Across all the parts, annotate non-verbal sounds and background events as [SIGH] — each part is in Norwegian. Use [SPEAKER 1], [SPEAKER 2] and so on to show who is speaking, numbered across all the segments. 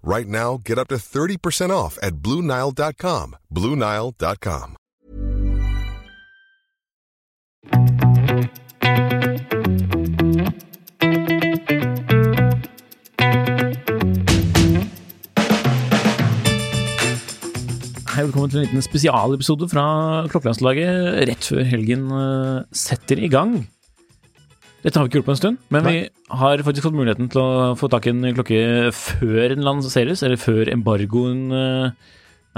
[SPEAKER 1] Right now, get up to 30% off at BlueNile.com. BlueNile.com.
[SPEAKER 2] Hei, velkommen til en liten spesialepisode fra Klokkelandslaget rett før helgen eh, setter i gang. Dette har vi ikke gjort på en stund, men vi har faktisk fått muligheten til å få tak i en klokke før den lanseres, eller før embargoen eh,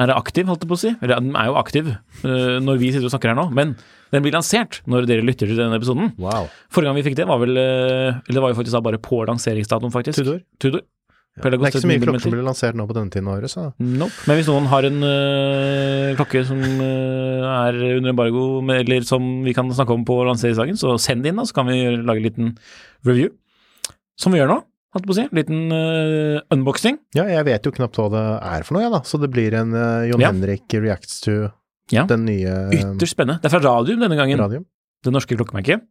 [SPEAKER 2] er aktiv, holdt jeg på å si. Eller ja, den er jo aktiv eh, når vi sitter og snakker her nå, men den blir lansert når dere lytter til denne episoden.
[SPEAKER 3] Wow.
[SPEAKER 2] Forrige gang vi fikk det, var vel eh, Eller det var jo faktisk da bare på lanseringsdatoen, faktisk.
[SPEAKER 3] Tudor.
[SPEAKER 2] Tudor.
[SPEAKER 3] Det er ikke så mye klokker som
[SPEAKER 2] blir
[SPEAKER 3] blir lansert nå på denne tiden av året, så
[SPEAKER 2] Nope. Men hvis noen har en øh, klokke som øh, er under embargo, med, eller som vi kan snakke om på lanseringsdagen, så send det inn, da, så kan vi gjøre- lage en liten review. Som vi gjør nå, holdt jeg på å si. En liten øh, unboxing.
[SPEAKER 3] Ja, jeg vet jo knapt hva det er for noe, jeg, da. Så det blir en eh, Jon
[SPEAKER 2] Ja.
[SPEAKER 3] Henrik reacts to
[SPEAKER 2] Ja.
[SPEAKER 3] den nye um,
[SPEAKER 2] Ytterst spennende. Det er fra Radium denne gangen,
[SPEAKER 3] radioen.
[SPEAKER 2] det norske klokkemerket.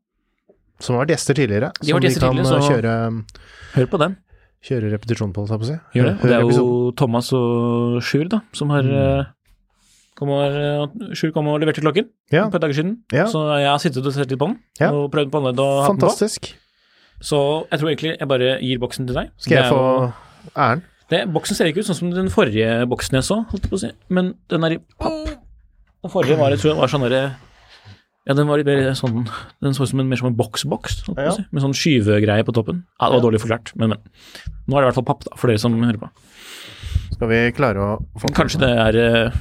[SPEAKER 3] Som har vært gjester tidligere.
[SPEAKER 2] De har vært gjester
[SPEAKER 3] som vi kan
[SPEAKER 2] tidligere,
[SPEAKER 3] eh,
[SPEAKER 2] så-
[SPEAKER 3] kjøre,
[SPEAKER 2] Hør på den.
[SPEAKER 3] kjøre repetisjon på, holdt jeg på å si.
[SPEAKER 2] Gjør det. Og
[SPEAKER 3] Hør
[SPEAKER 2] det er jo
[SPEAKER 3] episoden. Mm.
[SPEAKER 2] Thomas og Sjur, da, som har øh, kommer, øh, Sjur kom og leverte klokken
[SPEAKER 3] Ja.
[SPEAKER 2] et par dager siden.
[SPEAKER 3] Ja.
[SPEAKER 2] Så jeg har sittet og sett litt på den,
[SPEAKER 3] Ja.
[SPEAKER 2] og prøvd på annerledes å ha den på.
[SPEAKER 3] Fantastisk.
[SPEAKER 2] Så jeg tror egentlig jeg bare gir boksen til deg.
[SPEAKER 3] Skal
[SPEAKER 2] Det
[SPEAKER 3] jeg
[SPEAKER 2] er
[SPEAKER 3] få
[SPEAKER 2] jo-
[SPEAKER 3] æren?
[SPEAKER 2] det, Boksen ser ikke ut sånn som den forrige boksen jeg så, holdt jeg på å si. Men den er i papp. Den forrige var, jeg tror jeg var sånn derre Ja, den var litt mer sånn Den så ut som en, mer som en boksboks, holdt jeg på å si. Med sånn skyvegreie på toppen. Ja, det var dårlig forklart, men, men. Nå er det i hvert fall papp, da, for dere som hører på.
[SPEAKER 3] Skal vi klare å få
[SPEAKER 2] Kanskje det er eh,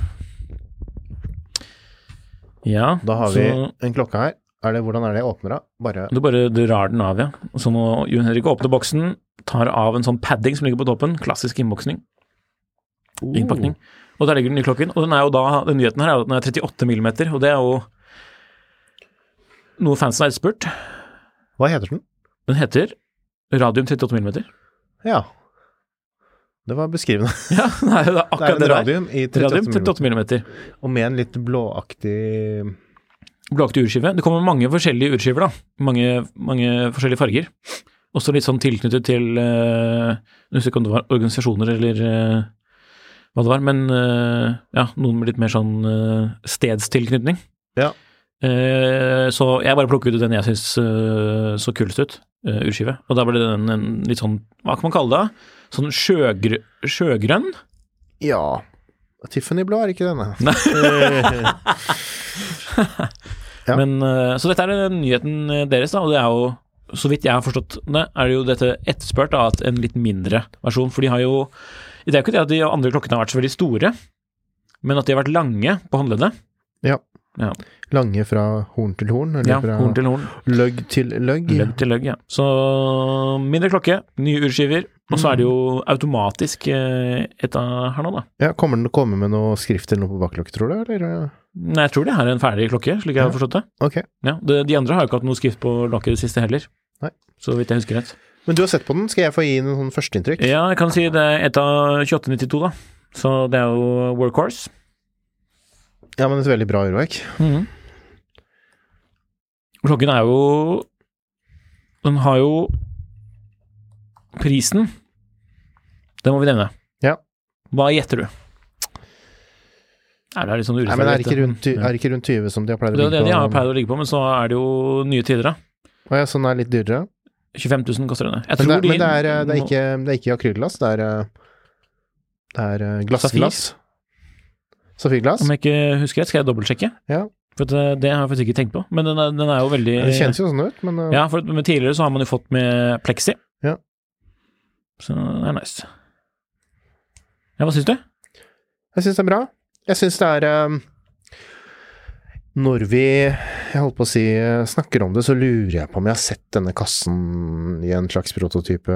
[SPEAKER 2] Ja,
[SPEAKER 3] Da har vi
[SPEAKER 2] så
[SPEAKER 3] en klokke her. Er det, hvordan er det jeg åpner av? Bare
[SPEAKER 2] Du bare drar den av, ja. Og Så må Jon Henrik åpne boksen, tar av en sånn padding som ligger på toppen. Klassisk innboksning.
[SPEAKER 3] Oh.
[SPEAKER 2] Innpakning. Og der ligger den i klokken. Og den er jo da, den nyheten her er jo at den er 38 millimeter, og det er jo noe fansen har etterspurt.
[SPEAKER 3] Hva heter den?
[SPEAKER 2] Den heter Radium 38 millimeter.
[SPEAKER 3] Ja. Det var beskrivende.
[SPEAKER 2] Ja, det er jo da
[SPEAKER 3] Det er
[SPEAKER 2] akkurat
[SPEAKER 3] en
[SPEAKER 2] det, der.
[SPEAKER 3] radium i 38
[SPEAKER 2] Radium
[SPEAKER 3] mm.
[SPEAKER 2] 38 millimeter.
[SPEAKER 3] Og med en litt blåaktig
[SPEAKER 2] Blåaktig urskive. Det kommer mange forskjellige urskiver, da. Mange, mange forskjellige farger. Også litt sånn tilknyttet til eh, Jeg husker ikke om det var organisasjoner eller eh, hva det var, men eh, ja, noen med litt mer sånn eh, stedstilknytning.
[SPEAKER 3] Ja.
[SPEAKER 2] Eh, så jeg bare plukket ut den jeg syns så kulest ut, eh, urskive. Og da ble den en litt sånn, hva kan man kalle det? da? Sånn sjøgr sjøgrønn?
[SPEAKER 3] Ja. Tiffany-blå er ikke denne. Ja.
[SPEAKER 2] Men, eh, så dette er eh, nyheten eh, deres, da, og det er jo, så vidt jeg har forstått det, er det jo dette etterspørt da, at en litt mindre versjon, for de har jo Det er jo ikke det at de andre klokkene har vært så veldig store, men at de har vært lange på håndleddet.
[SPEAKER 3] Ja.
[SPEAKER 2] Ja.
[SPEAKER 3] Lange fra horn til horn, eller
[SPEAKER 2] Ja,
[SPEAKER 3] fra
[SPEAKER 2] horn til horn.
[SPEAKER 3] løgg til løgg.
[SPEAKER 2] Løgg til løgg, ja. Så mindre klokke, nye urskiver, og så er det jo automatisk eh, et av her nå, da.
[SPEAKER 3] Ja, Kommer den til å komme med noe skrift eller noe på baklokket, tror du? Eller? eh,
[SPEAKER 2] Nei, jeg tror det her er en ferdig klokke, slik jeg har forstått det.
[SPEAKER 3] Ok.
[SPEAKER 2] Ja, det, De andre har jo ikke hatt noe skrift på lokket i det siste heller,
[SPEAKER 3] Nei.
[SPEAKER 2] så vidt jeg husker rett.
[SPEAKER 3] Men du har sett på den, skal jeg få gi den en sånn førsteinntrykk?
[SPEAKER 2] Ja, jeg kan si det er et av 2892, da. Så det er jo workhorse.
[SPEAKER 3] Ja, men et veldig bra urverk.
[SPEAKER 2] Klokken er jo Den har jo Prisen, det må vi nevne.
[SPEAKER 3] Ja.
[SPEAKER 2] Hva gjetter du? Nei, det er litt sånn
[SPEAKER 3] Nei, men er det ikke rundt, ty-
[SPEAKER 2] Ja.
[SPEAKER 3] er det ikke rundt 20 som de har pleid
[SPEAKER 2] Det
[SPEAKER 3] å
[SPEAKER 2] er jo det de har
[SPEAKER 3] på?
[SPEAKER 2] pleid å ligge på, men så er det jo nye tider, da.
[SPEAKER 3] Å ja, så den er litt dyrere?
[SPEAKER 2] 25 000 koster denne. Jeg
[SPEAKER 3] Men det,
[SPEAKER 2] tror
[SPEAKER 3] er, men det, er,
[SPEAKER 2] de
[SPEAKER 3] eh, det, er ikke, det er ikke akryllass, det er, eh, det er eh, glassglass. Saffirglass.
[SPEAKER 2] Om jeg ikke husker rett, skal jeg dobbeltsjekke.
[SPEAKER 3] Ja.
[SPEAKER 2] For at, eh, det har jeg faktisk ikke tenkt på. Men den er, den er jo veldig
[SPEAKER 3] Det kjennes jo sånn ut, men eh,
[SPEAKER 2] Ja, for at- men tidligere så har man jo fått med pleksi.
[SPEAKER 3] Ja.
[SPEAKER 2] Så det er nice. Ja, hva syns du?
[SPEAKER 3] Eh, jeg syns det er bra. Jeg syns det er eh, Når vi jeg holdt på å si, eh, snakker om det, så lurer jeg på om jeg har sett denne kassen i en slags prototype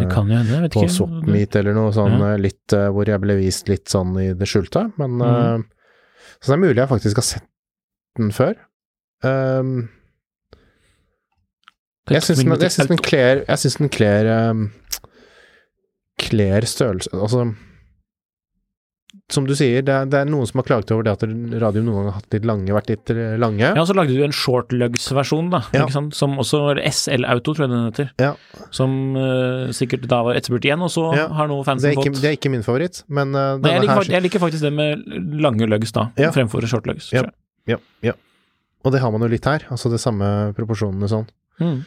[SPEAKER 2] Det kan jo hende, jeg vet
[SPEAKER 3] på
[SPEAKER 2] ikke.
[SPEAKER 3] swap-meet eller noe sånn,
[SPEAKER 2] Ja.
[SPEAKER 3] eh, litt, eh, hvor jeg ble vist litt sånn i det skjulte. Men
[SPEAKER 2] Mhm.
[SPEAKER 3] eh, Så det er mulig jeg faktisk har sett den før. Um, jeg syns den, jeg syns den kler Jeg syns den kler um, Kler størrelse Altså Som du sier, det er, det er noen som har klaget over det at radioen noen ganger har hatt litt lange, vært litt eh, lange.
[SPEAKER 2] Ja, så lagde du en shortlugs-versjon, da.
[SPEAKER 3] Ja.
[SPEAKER 2] Ikke sant? Som også var SL Auto, tror jeg den heter.
[SPEAKER 3] Ja.
[SPEAKER 2] Som eh, sikkert da var etterspurt igjen, og så
[SPEAKER 3] Ja.
[SPEAKER 2] har nå
[SPEAKER 3] Det, er
[SPEAKER 2] fansen
[SPEAKER 3] ikke,
[SPEAKER 2] fått
[SPEAKER 3] det er ikke min favoritt, men eh,
[SPEAKER 2] Nei, jeg,
[SPEAKER 3] denne
[SPEAKER 2] liker,
[SPEAKER 3] her
[SPEAKER 2] fakt- jeg liker faktisk det med lange lugs, da,
[SPEAKER 3] Ja.
[SPEAKER 2] fremfor short lugs.
[SPEAKER 3] Ja.
[SPEAKER 2] tror jeg.
[SPEAKER 3] ja, ja. Og det har man jo litt her. Altså det samme proporsjonene sånn.
[SPEAKER 2] Mm.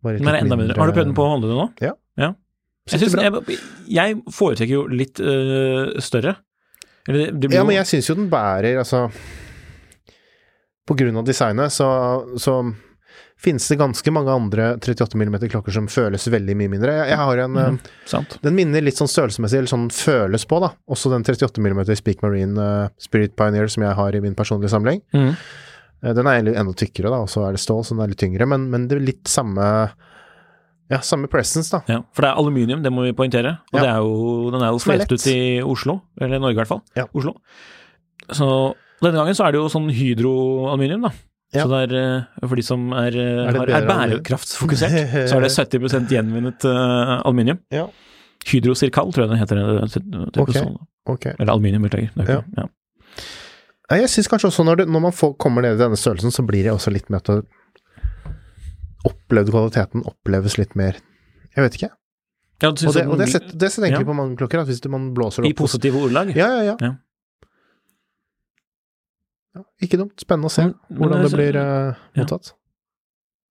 [SPEAKER 3] Bare
[SPEAKER 2] Den er
[SPEAKER 3] litt
[SPEAKER 2] enda mindre. Har du prøvd den på å holde det nå?
[SPEAKER 3] Ja.
[SPEAKER 2] Jeg,
[SPEAKER 3] Synes det
[SPEAKER 2] synes,
[SPEAKER 3] er bra.
[SPEAKER 2] jeg, jeg foretrekker jo litt øh, større. Eller det, det blir
[SPEAKER 3] Ja,
[SPEAKER 2] jo
[SPEAKER 3] men jeg syns jo den bærer, altså På grunn av designet, så, så finnes det ganske mange andre 38 mm klokker som føles veldig mye mindre. Jeg, jeg har en
[SPEAKER 2] Mhm.
[SPEAKER 3] eh,
[SPEAKER 2] Sant.
[SPEAKER 3] Den minner litt sånn størrelsesmessig, eller sånn føles på, da. Også den 38 mm Speak Marine eh, Spirit Pioneer som jeg har i min personlige samling.
[SPEAKER 2] Mm.
[SPEAKER 3] Eh, den er litt enda tykkere, da, og så er det stål, så den er litt tyngre, men, men det er litt samme Ja, samme presence, da.
[SPEAKER 2] Ja, for det er aluminium, det må vi poengtere. Og
[SPEAKER 3] Ja.
[SPEAKER 2] det er jo, den er jo
[SPEAKER 3] Som er lett.
[SPEAKER 2] flest ut i Oslo, eller Norge i hvert fall.
[SPEAKER 3] Ja.
[SPEAKER 2] Oslo. Så denne gangen så er det jo sånn hydroaluminium, da.
[SPEAKER 3] Ja.
[SPEAKER 2] Så det er, øh, for de som er, øh,
[SPEAKER 3] Er det
[SPEAKER 2] har, er
[SPEAKER 3] bedre aluminium? [LAUGHS]
[SPEAKER 2] bærekraftsfokusert, så er det 70 gjenvunnet øh, aluminium.
[SPEAKER 3] Ja.
[SPEAKER 2] Hydrosirkal, tror jeg den heter. øh, til- til
[SPEAKER 3] Ok.
[SPEAKER 2] personen.
[SPEAKER 3] Ok.
[SPEAKER 2] Eller aluminium, beklager. Det er ikke- Ja.
[SPEAKER 3] Nei, Jeg syns kanskje også når, det, når man får, kommer ned i denne størrelsen, så blir det også litt mer at det- opplevd kvaliteten oppleves litt mer Jeg vet ikke.
[SPEAKER 2] Ja, du synes
[SPEAKER 3] Og det,
[SPEAKER 2] at
[SPEAKER 3] og det
[SPEAKER 2] den-
[SPEAKER 3] setter det setter egentlig
[SPEAKER 2] Ja.
[SPEAKER 3] på mange klokker, at hvis man blåser
[SPEAKER 2] I
[SPEAKER 3] opp
[SPEAKER 2] positive ordlag.
[SPEAKER 3] Ja, ja, ja.
[SPEAKER 2] Ja.
[SPEAKER 3] Ja, Ikke dumt. Spennende å se
[SPEAKER 2] Men- men
[SPEAKER 3] hvordan det
[SPEAKER 2] det er så-
[SPEAKER 3] blir eh,
[SPEAKER 2] Ja.
[SPEAKER 3] mottatt.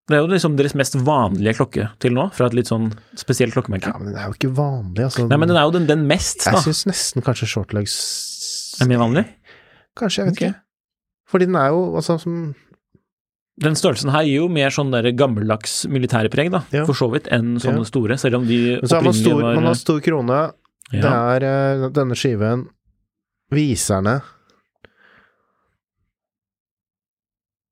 [SPEAKER 2] Det er jo liksom deres mest vanlige klokke til nå, fra et litt sånn spesielt klokkemerke.
[SPEAKER 3] Ja, men den er jo ikke vanlig, altså.
[SPEAKER 2] Nei, men den er jo den, den mest, da.
[SPEAKER 3] jeg syns nesten kanskje shortlegs
[SPEAKER 2] Er mer vanlig.
[SPEAKER 3] Kanskje, jeg vet
[SPEAKER 2] Ok.
[SPEAKER 3] ikke. Fordi den er jo altså som
[SPEAKER 2] Den størrelsen her gir jo mer sånn der gammeldags militærpreg, da,
[SPEAKER 3] Ja.
[SPEAKER 2] for så vidt, enn sånne
[SPEAKER 3] Ja.
[SPEAKER 2] store, selv om de
[SPEAKER 3] Men så har man
[SPEAKER 2] opprinnelige
[SPEAKER 3] stor,
[SPEAKER 2] var
[SPEAKER 3] man har stor krone, Det
[SPEAKER 2] ja.
[SPEAKER 3] er eh, denne skiven Viserne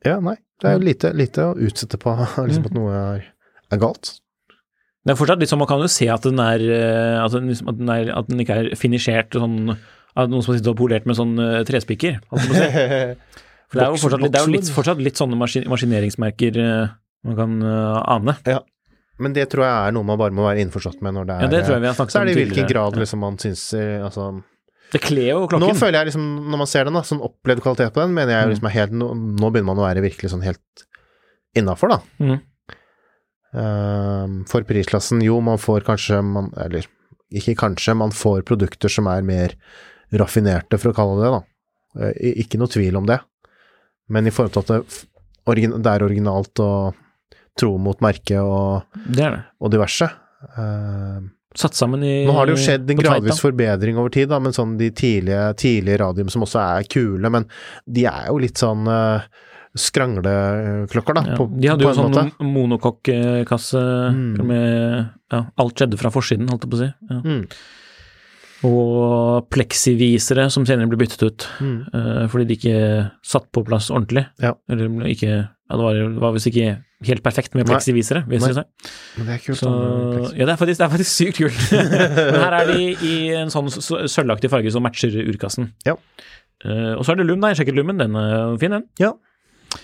[SPEAKER 3] Ja, nei. Det er jo lite, lite å utsette på [LAUGHS] liksom at noe er, er galt.
[SPEAKER 2] Det er fortsatt litt sånn, man kan jo se at den er eh, At den, liksom, at den, er, at den ikke er finisjert sånn av noen som har sittet og polert med sånn eh, trespiker. holdt jeg på å si.
[SPEAKER 3] [LAUGHS]
[SPEAKER 2] For det er jo
[SPEAKER 3] Voks-
[SPEAKER 2] fortsatt, litt- det er jo litt,
[SPEAKER 3] voksord.
[SPEAKER 2] fortsatt litt sånne maskin, maskineringsmerker eh, man kan eh, ane.
[SPEAKER 3] Men det tror jeg er noe man bare må være innforstått med når det er
[SPEAKER 2] Ja, det tror jeg vi har snakket
[SPEAKER 3] Så er det
[SPEAKER 2] om
[SPEAKER 3] i hvilken
[SPEAKER 2] tidligere.
[SPEAKER 3] grad liksom, man syns eh, altså,
[SPEAKER 2] Det kler jo
[SPEAKER 3] Nå
[SPEAKER 2] klokken.
[SPEAKER 3] føler jeg liksom, når man ser den, da, sånn opplevd kvalitet på den, mener jeg jo liksom er helt Nå nå begynner man å være virkelig sånn helt innafor, da.
[SPEAKER 2] Mhm.
[SPEAKER 3] Ehm, for prisklassen, jo, man får kanskje man, Eller ikke kanskje, man får produkter som er mer raffinerte, for å kalle det det, da. Eh, i- ikke noe tvil om det. Men i forhold til at det, f- origin, det er originalt og tro mot merket og,
[SPEAKER 2] Det er det.
[SPEAKER 3] og diverse. Ehm,
[SPEAKER 2] Satt sammen i
[SPEAKER 3] nå har det jo skjedd en
[SPEAKER 2] på Tveita.
[SPEAKER 3] gradvis forbedring over tid, da, men sånn de tidlige, tidlige radium som også er kule, men de er jo litt sånn eh, skrangleklokker, da.
[SPEAKER 2] Ja,
[SPEAKER 3] på,
[SPEAKER 2] de hadde jo
[SPEAKER 3] på en
[SPEAKER 2] sånn
[SPEAKER 3] måte.
[SPEAKER 2] monokokkasse
[SPEAKER 3] Mm.
[SPEAKER 2] med ja, Alt skjedde fra forsiden, holdt jeg på å si. Ja.
[SPEAKER 3] Mm.
[SPEAKER 2] Og pleksivisere som senere ble byttet ut
[SPEAKER 3] Mm.
[SPEAKER 2] eh, fordi de ikke satt på plass ordentlig.
[SPEAKER 3] Ja.
[SPEAKER 2] Eller ble ikke ja, det, var, det var visst ikke helt perfekt med
[SPEAKER 3] Nei.
[SPEAKER 2] pleksivisere, vil
[SPEAKER 3] Nei.
[SPEAKER 2] jeg si.
[SPEAKER 3] Men det er kult.
[SPEAKER 2] Så,
[SPEAKER 3] da,
[SPEAKER 2] ja, det er, faktisk, det er faktisk sykt
[SPEAKER 3] [LAUGHS]
[SPEAKER 2] kult. Men her er de i en sånn s- sølvaktig farge som matcher urkassen.
[SPEAKER 3] Ja.
[SPEAKER 2] Eh, og så er det lum, da. Jeg sjekket lummen. Den er fin, den.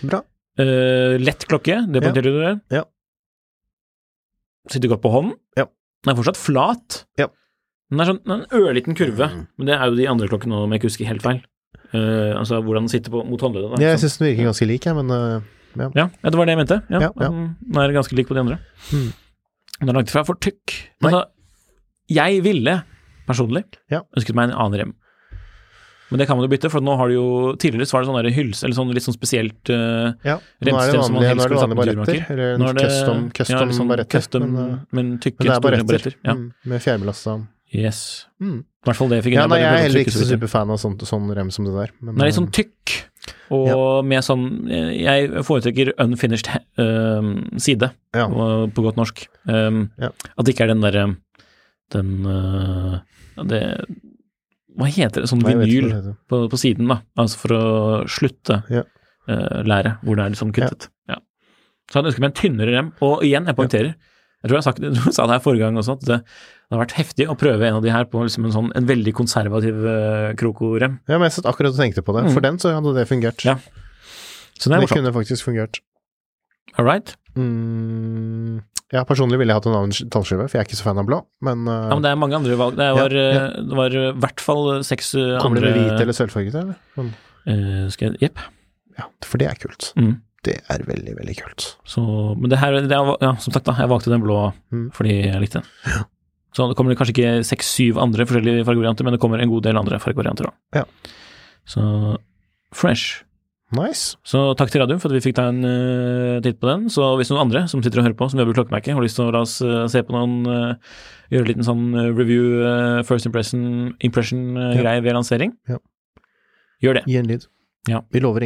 [SPEAKER 3] Bra.
[SPEAKER 2] Eh, lett klokke, det
[SPEAKER 3] Ja.
[SPEAKER 2] poengterer du.
[SPEAKER 3] Ja.
[SPEAKER 2] Sitter godt på hånden.
[SPEAKER 3] Ja.
[SPEAKER 2] Den er fortsatt flat.
[SPEAKER 3] Ja.
[SPEAKER 2] Den er sånn den er en ørliten kurve,
[SPEAKER 3] Mm.
[SPEAKER 2] men det er jo de andre klokkene nå, om jeg ikke husker helt feil. Eh, altså hvordan den sitter på, mot håndleddet. da, ikke
[SPEAKER 3] Jeg
[SPEAKER 2] sant?
[SPEAKER 3] syns den virker ganske lik, jeg, men eh,
[SPEAKER 2] ja, ja, det var det jeg mente. Ja,
[SPEAKER 3] Ja, ja.
[SPEAKER 2] den- Den er ganske lik på de andre.
[SPEAKER 3] Mm.
[SPEAKER 2] Den er langt fra for tykk. Altså, jeg ville personlig
[SPEAKER 3] Ja.
[SPEAKER 2] ønsket meg en annen rem. Men det kan man jo bytte, for nå har du jo Tidligere så var det sånn der hylse, eller sånn litt sånn spesielt eh,
[SPEAKER 3] ja. Nå er det
[SPEAKER 2] Remstem som man helst
[SPEAKER 3] vanlige, nå er det
[SPEAKER 2] skulle satt
[SPEAKER 3] vanlige
[SPEAKER 2] på
[SPEAKER 3] baretter.
[SPEAKER 2] turmaker.
[SPEAKER 3] Eller
[SPEAKER 2] Nå er
[SPEAKER 3] en
[SPEAKER 2] det-
[SPEAKER 3] custom,
[SPEAKER 2] ja,
[SPEAKER 3] custom
[SPEAKER 2] eller sånn
[SPEAKER 3] baretter.
[SPEAKER 2] Custom,
[SPEAKER 3] Men, eh,
[SPEAKER 2] men, tykke,
[SPEAKER 3] men det er
[SPEAKER 2] store
[SPEAKER 3] baretter.
[SPEAKER 2] baretter. Ja.
[SPEAKER 3] Mm, med fjærmelasta.
[SPEAKER 2] Yes.
[SPEAKER 3] Mm.
[SPEAKER 2] I hvert fall det fikk
[SPEAKER 3] sånn. Ja, nei,
[SPEAKER 2] bare
[SPEAKER 3] jeg er
[SPEAKER 2] prøvde å
[SPEAKER 3] heller
[SPEAKER 2] trykke
[SPEAKER 3] ikke
[SPEAKER 2] så
[SPEAKER 3] så
[SPEAKER 2] vidt.
[SPEAKER 3] superfan av sånn, sånn rem som det der. Men, eh,
[SPEAKER 2] Den er litt sånn tykk, og med sånn Jeg foretrekker unfinished eh, side,
[SPEAKER 3] Ja.
[SPEAKER 2] på- på godt norsk. Um,
[SPEAKER 3] Ja.
[SPEAKER 2] At det ikke er den derre Den eh, det, Hva heter det? Sånn
[SPEAKER 3] Nei, jeg vet ikke hva
[SPEAKER 2] vinyl
[SPEAKER 3] det heter.
[SPEAKER 2] på, på siden, da. Altså for å slutte
[SPEAKER 3] Ja.
[SPEAKER 2] eh, læret, hvor det er liksom kuttet. Ja. Så han ønsker meg en tynnere rem. Og igjen, jeg poengterer. Jeg tror jeg, har sagt, [LAUGHS] jeg tror jeg sa det her forrige gang også, at det, det har vært heftig å prøve en av de her på liksom en, sånn, en veldig konservativ eh, krokorem.
[SPEAKER 3] Ja, men jeg satt akkurat og tenkte på det.
[SPEAKER 2] Mm.
[SPEAKER 3] For den så hadde det fungert.
[SPEAKER 2] Ja, Så det er
[SPEAKER 3] det
[SPEAKER 2] morsomt.
[SPEAKER 3] kunne faktisk fungert.
[SPEAKER 2] All right.
[SPEAKER 3] Mm, ja, personlig ville jeg hatt en annen tallskive, for jeg er ikke så fan av blå. Men, eh,
[SPEAKER 2] Ja, men det er mange andre valg. Det
[SPEAKER 3] Ja,
[SPEAKER 2] var, eh, det var i hvert fall seks eh,
[SPEAKER 3] kommer
[SPEAKER 2] andre
[SPEAKER 3] det med hvit eller sølvfarget, eller? Men,
[SPEAKER 2] eh, skal jeg, Jepp.
[SPEAKER 3] ja, for det er kult.
[SPEAKER 2] Mm.
[SPEAKER 3] Det er veldig, veldig kult.
[SPEAKER 2] Så, men det her det er, ja, Som sagt, da, jeg valgte den blå
[SPEAKER 3] Mm.
[SPEAKER 2] fordi jeg likte den. Så det kommer kanskje ikke seks-syv andre forskjellige fargevarianter, men det kommer en god del andre fargevarianter òg.
[SPEAKER 3] Ja.
[SPEAKER 2] Så fresh.
[SPEAKER 3] Nice.
[SPEAKER 2] Så takk til radioen for at vi fikk ta en eh, titt på den. Så hvis noen andre som sitter og hører på, som jobber i klokkemerket, har lyst til å la oss eh, se på noen eh, Gjøre en liten sånn eh, review, eh, first impression-greie
[SPEAKER 3] Ja.
[SPEAKER 2] ved lansering,
[SPEAKER 3] Ja.
[SPEAKER 2] gjør det.
[SPEAKER 3] Gi en lyd.
[SPEAKER 2] Ja.
[SPEAKER 3] Vi lover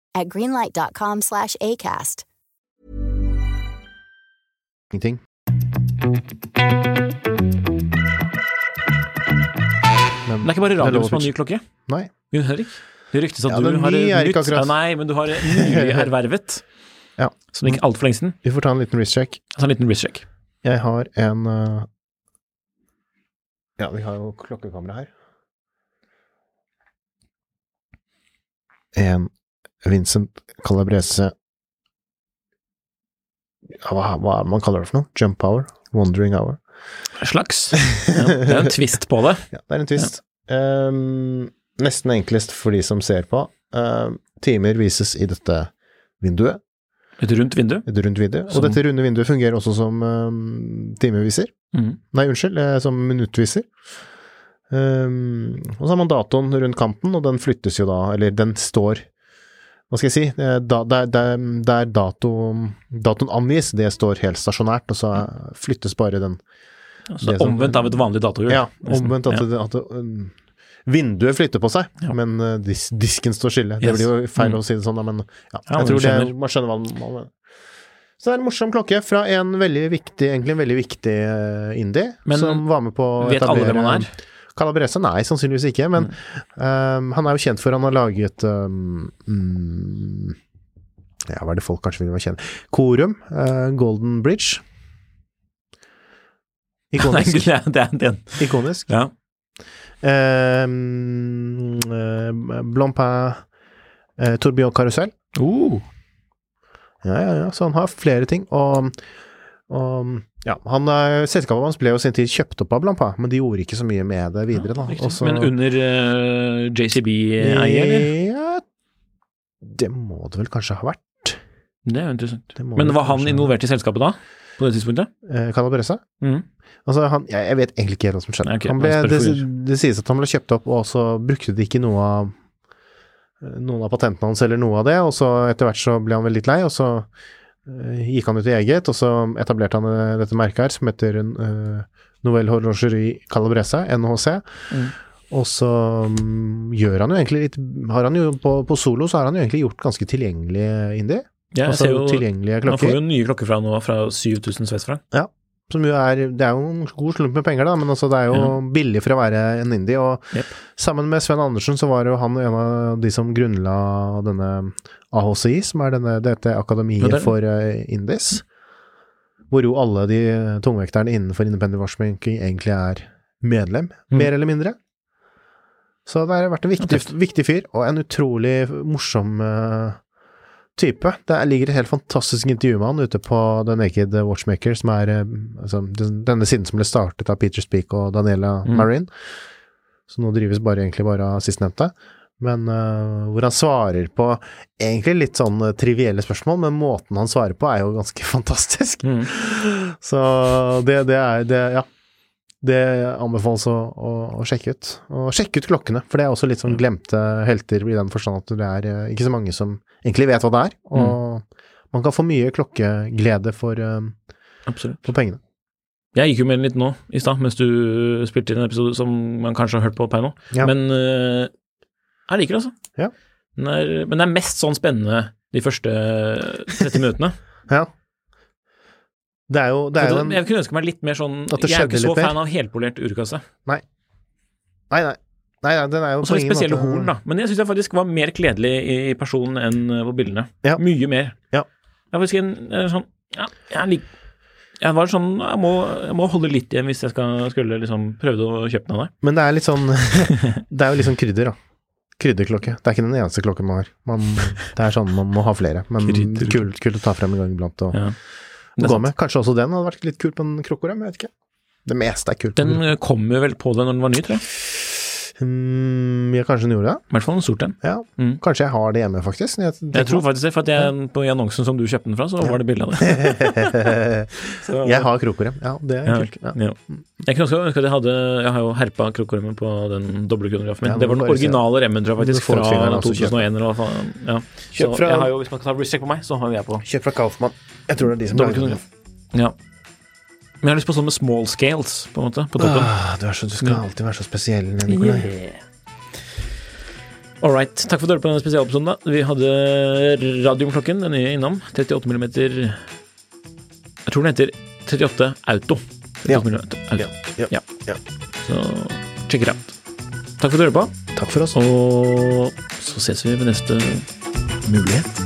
[SPEAKER 4] at greenlight.com slash ACAST.
[SPEAKER 3] ingenting.
[SPEAKER 2] Men det er ikke bare
[SPEAKER 3] Det er
[SPEAKER 2] radioen
[SPEAKER 3] lov å
[SPEAKER 2] som har ny
[SPEAKER 3] pitche.
[SPEAKER 2] klokke.
[SPEAKER 3] Nei.
[SPEAKER 2] Gunn Hørik, det ryktes at
[SPEAKER 3] Ja, den
[SPEAKER 2] du har
[SPEAKER 3] nye er
[SPEAKER 2] nytt
[SPEAKER 3] ikke akkurat-
[SPEAKER 2] ja, Nei, men du har
[SPEAKER 3] [LAUGHS]
[SPEAKER 2] nylig ervervet,
[SPEAKER 3] Ja.
[SPEAKER 2] som det gikk altfor lenge siden.
[SPEAKER 3] Vi får ta en liten wrist-check.
[SPEAKER 2] Altså en liten wristcheck.
[SPEAKER 3] Jeg har en eh, Ja, vi har jo klokkekamera her. En Vincent Calabrese ja, hva, hva er det man kaller det for noe? Jump hour? Wandering hour?
[SPEAKER 2] Slags.
[SPEAKER 3] [LAUGHS]
[SPEAKER 2] Ja, det er jo en twist på det.
[SPEAKER 3] Ja, det er en twist. Ehm, nesten enklest for de som ser på. Ehm, timer vises i dette vinduet,
[SPEAKER 2] Et rundt vindu.
[SPEAKER 3] et rundt vindu. Og
[SPEAKER 2] Som-
[SPEAKER 3] dette runde vinduet fungerer også som ehm, timeviser.
[SPEAKER 2] Mm.
[SPEAKER 3] Nei, unnskyld, eh, som minuttviser. Ehm, og så har man datoen rundt kanten, og den flyttes jo da, eller den står Hva skal jeg si? eh, Da, der der, der dato, datoen angis, det står helt stasjonært, og så eh, flyttes bare den.
[SPEAKER 2] Så
[SPEAKER 3] Det som-
[SPEAKER 2] Altså, omvendt av et vanlig datohjul.
[SPEAKER 3] sånn- Ja,
[SPEAKER 2] nesten.
[SPEAKER 3] omvendt at,
[SPEAKER 2] Ja.
[SPEAKER 3] det- at det, eh, vinduet flytter på seg,
[SPEAKER 2] Ja.
[SPEAKER 3] men eh, dis, disken står stille. Det
[SPEAKER 2] Yes.
[SPEAKER 3] blir jo feil
[SPEAKER 2] Mm.
[SPEAKER 3] å si det sånn, da, men ja,
[SPEAKER 2] Ja,
[SPEAKER 3] jeg
[SPEAKER 2] men
[SPEAKER 3] tror
[SPEAKER 2] du
[SPEAKER 3] det er,
[SPEAKER 2] skjønner.
[SPEAKER 3] man skjønner hva man mener. Så det er en morsom klokke fra en veldig viktig, egentlig en veldig viktig eh, indie,
[SPEAKER 2] Men
[SPEAKER 3] som var med på å
[SPEAKER 2] Vet alle hvem
[SPEAKER 3] [LAUGHS]
[SPEAKER 2] han er? Mm.
[SPEAKER 3] Calabrese? Nei, sannsynligvis ikke, men ehm, han er jo kjent for han har laget ehm, mm, Ja, hva er det folk kanskje vil være kjent Korum, eh, Golden Bridge.
[SPEAKER 2] [LAUGHS] Nei,
[SPEAKER 3] Ikonisk.
[SPEAKER 2] det er- det er den.
[SPEAKER 3] Ikonisk.
[SPEAKER 2] Ja.
[SPEAKER 3] Um, Blompin, eh, Tourbillon Karusell.
[SPEAKER 2] Uh.
[SPEAKER 3] Ja, ja, ja. Så han har flere ting. Og, og ja, han, eh, selskapet hans ble jo i sin tid kjøpt opp av Blampin, men de gjorde ikke så mye med det videre, da.
[SPEAKER 2] Riktig.
[SPEAKER 3] Og så-
[SPEAKER 2] Men under eh, JCB-eier, eller?
[SPEAKER 3] Ja, det må det vel kanskje ha vært.
[SPEAKER 2] Det er jo interessant.
[SPEAKER 3] Det må
[SPEAKER 2] Men
[SPEAKER 3] det
[SPEAKER 2] var han
[SPEAKER 3] kanskje-
[SPEAKER 2] involvert i selskapet da? På det tidspunktet?
[SPEAKER 3] Eh, Calabrese?
[SPEAKER 2] Mm.
[SPEAKER 3] Altså, han, jeg, jeg vet egentlig ikke helt hva som skjedde.
[SPEAKER 2] Nei, ok,
[SPEAKER 3] han ble,
[SPEAKER 2] men
[SPEAKER 3] det,
[SPEAKER 2] spør for
[SPEAKER 3] det sies at han ble kjøpt opp, og så brukte de ikke noe av eh, noen av patentene hans eller noe av det, og så etter hvert så ble han vel litt lei, og så eh, gikk han ut i eget, og så etablerte han eh, dette merket her som heter uh, Novelle Horlogerie Calabrese, NHC. Og så mm, gjør han jo egentlig litt har han jo, på, på solo så har han jo egentlig gjort ganske tilgjengelig indie.
[SPEAKER 2] Ja, jeg
[SPEAKER 3] altså
[SPEAKER 2] ser jo,
[SPEAKER 3] tilgjengelige
[SPEAKER 2] man får
[SPEAKER 3] klokker.
[SPEAKER 2] jo nye klokker fra nå, fra 7000 sveitsfranc.
[SPEAKER 3] Ja. Som jo er, det er jo en god slump med penger, da, men altså det er jo billig for å være en indie. Og
[SPEAKER 2] Jep.
[SPEAKER 3] sammen med Sven Andersen så var jo han en av de som grunnla denne AHCI, som er denne, dette akademiet
[SPEAKER 2] Ja, det er det.
[SPEAKER 3] for eh, indies. Hvor jo alle de tungvekterne innenfor independent watchmaking egentlig er medlem,
[SPEAKER 2] Mm.
[SPEAKER 3] mer eller mindre. Så det har vært en viktig,
[SPEAKER 2] tøft.
[SPEAKER 3] viktig fyr, og en utrolig morsom eh, type. Det er- ligger et helt fantastisk intervju med han ute på The Naked Watchmaker, som er eh, altså, den- denne siden som ble startet av Peter Speak og Daniela
[SPEAKER 2] Mm.
[SPEAKER 3] Marin. Så nå drives bare, egentlig bare av sistnevnte. Men eh, hvor han svarer på egentlig litt sånn eh, trivielle spørsmål, men måten han svarer på er jo ganske [LAUGHS] fantastisk.
[SPEAKER 2] Mm.
[SPEAKER 3] [LAUGHS] Så det, det er det, Ja. Det anbefales å, å, å sjekke ut. Og sjekke ut klokkene, for det er også litt
[SPEAKER 2] Mm.
[SPEAKER 3] sånn glemte helter i den forstand at det er eh, ikke så mange som egentlig vet hva det er.
[SPEAKER 2] Mm.
[SPEAKER 3] Og man kan få mye klokkeglede for, eh,
[SPEAKER 2] Absolutt.
[SPEAKER 3] for pengene.
[SPEAKER 2] Jeg gikk jo med den litt nå i stad, mens du eh, spilte inn en episode som man kanskje har hørt på per nå.
[SPEAKER 3] Ja.
[SPEAKER 2] Men øh, jeg liker det, altså.
[SPEAKER 3] Ja.
[SPEAKER 2] Den er, men det er mest sånn spennende de første 30 minuttene.
[SPEAKER 3] Ja. Det er jo, [LAUGHS] det er jo en
[SPEAKER 2] Altså, jeg kunne ønske meg litt mer sånn
[SPEAKER 3] At det
[SPEAKER 2] Jeg er ikke
[SPEAKER 3] skjedde
[SPEAKER 2] så
[SPEAKER 3] litt mer.
[SPEAKER 2] fan av helpolert urkasse.
[SPEAKER 3] Nei, nei. Nei, nei, den er jo
[SPEAKER 2] Og så
[SPEAKER 3] på
[SPEAKER 2] litt
[SPEAKER 3] ingen
[SPEAKER 2] spesielle
[SPEAKER 3] måte-
[SPEAKER 2] horn, da. Men jeg syns jeg faktisk var mer kledelig i i personen enn øh, på bildene.
[SPEAKER 3] Ja.
[SPEAKER 2] Mye mer.
[SPEAKER 3] Ja.
[SPEAKER 2] Jeg er faktisk en, en sånn Ja, jeg liker jeg var sånn, jeg må, jeg må holde litt igjen hvis jeg skal, skulle liksom prøve å kjøpe den av deg.
[SPEAKER 3] Men det er litt
[SPEAKER 2] [LAUGHS]
[SPEAKER 3] sånn Det er jo litt sånn krydder, da. Krydderklokke. Det er ikke den eneste klokken man har. Man, det er sånn man må ha flere, men
[SPEAKER 2] Krydderklokke.
[SPEAKER 3] kult, kult å ta frem en gang iblant og
[SPEAKER 2] Ja.
[SPEAKER 3] og
[SPEAKER 2] Det er
[SPEAKER 3] gå
[SPEAKER 2] sant.
[SPEAKER 3] med. Kanskje også den hadde vært litt kult på en krokorem, jeg vet ikke. Det meste er kult.
[SPEAKER 2] Den øh, kom jo vel på deg når den var ny, tror jeg.
[SPEAKER 3] Mm, ja, kanskje den gjorde det?
[SPEAKER 2] I hvert fall en sort en.
[SPEAKER 3] Ja.
[SPEAKER 2] Mm.
[SPEAKER 3] Kanskje jeg har det hjemme, faktisk. når
[SPEAKER 2] Jeg tror faktisk det, for at jeg, på i annonsen som du kjøpte den fra, så var det [LAUGHS] bilde
[SPEAKER 3] [LAUGHS]
[SPEAKER 2] av det. Så-
[SPEAKER 3] jeg har krokorem. Ja, det er
[SPEAKER 2] Ja,
[SPEAKER 3] kult. Ja.
[SPEAKER 2] ja. Jeg kunne også ønske at jeg hadde Jeg har jo herpa krokoremen på den doble kronografen min.
[SPEAKER 3] Ja,
[SPEAKER 2] det var den
[SPEAKER 3] må bare se.
[SPEAKER 2] originale remmen, tror jeg faktisk,
[SPEAKER 3] Du får fingeren,
[SPEAKER 2] fra
[SPEAKER 3] altså, kjøp.
[SPEAKER 2] 2001 eller hva faen. Ja.
[SPEAKER 3] Kjøp
[SPEAKER 2] Så
[SPEAKER 3] fra-
[SPEAKER 2] jeg har jo, hvis man skal ta recheck på meg, så har jo jeg på
[SPEAKER 3] Kjøp fra Kaufmann. Jeg tror det er de som
[SPEAKER 2] doble kronograf. Ja. Men jeg har lyst på sånne small scales, på en måte, på toppen.
[SPEAKER 3] Ah, du, er så, du skal
[SPEAKER 2] Ja.
[SPEAKER 3] alltid være så spesiell, Nikolai.
[SPEAKER 2] All right. Takk for at du hørte på denne spesialepisoden. da. Vi hadde Radiumklokken, den nye innom. 38 mm Jeg tror den heter 38 Auto. 38
[SPEAKER 3] Ja.
[SPEAKER 2] millimeter Auto.
[SPEAKER 3] Ja, ja, ja.
[SPEAKER 2] Så check it out. Takk for at du hører på,
[SPEAKER 3] Takk for oss.
[SPEAKER 2] og så ses vi ved neste mulighet.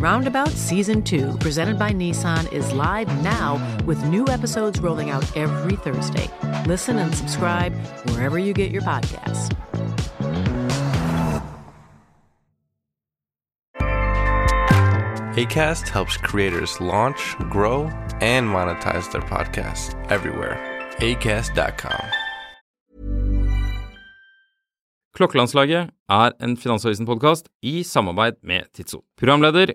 [SPEAKER 5] Roundabout Season 2, presented by Nissan, is live now with new episodes rolling out every Thursday. Listen and subscribe wherever you get your podcasts.
[SPEAKER 6] ACAST helps creators launch, grow, and monetize their podcasts everywhere. ACAST.com.
[SPEAKER 7] Klokkelandslaget er en Finansavisen-podkast i samarbeid med Tidso. Programleder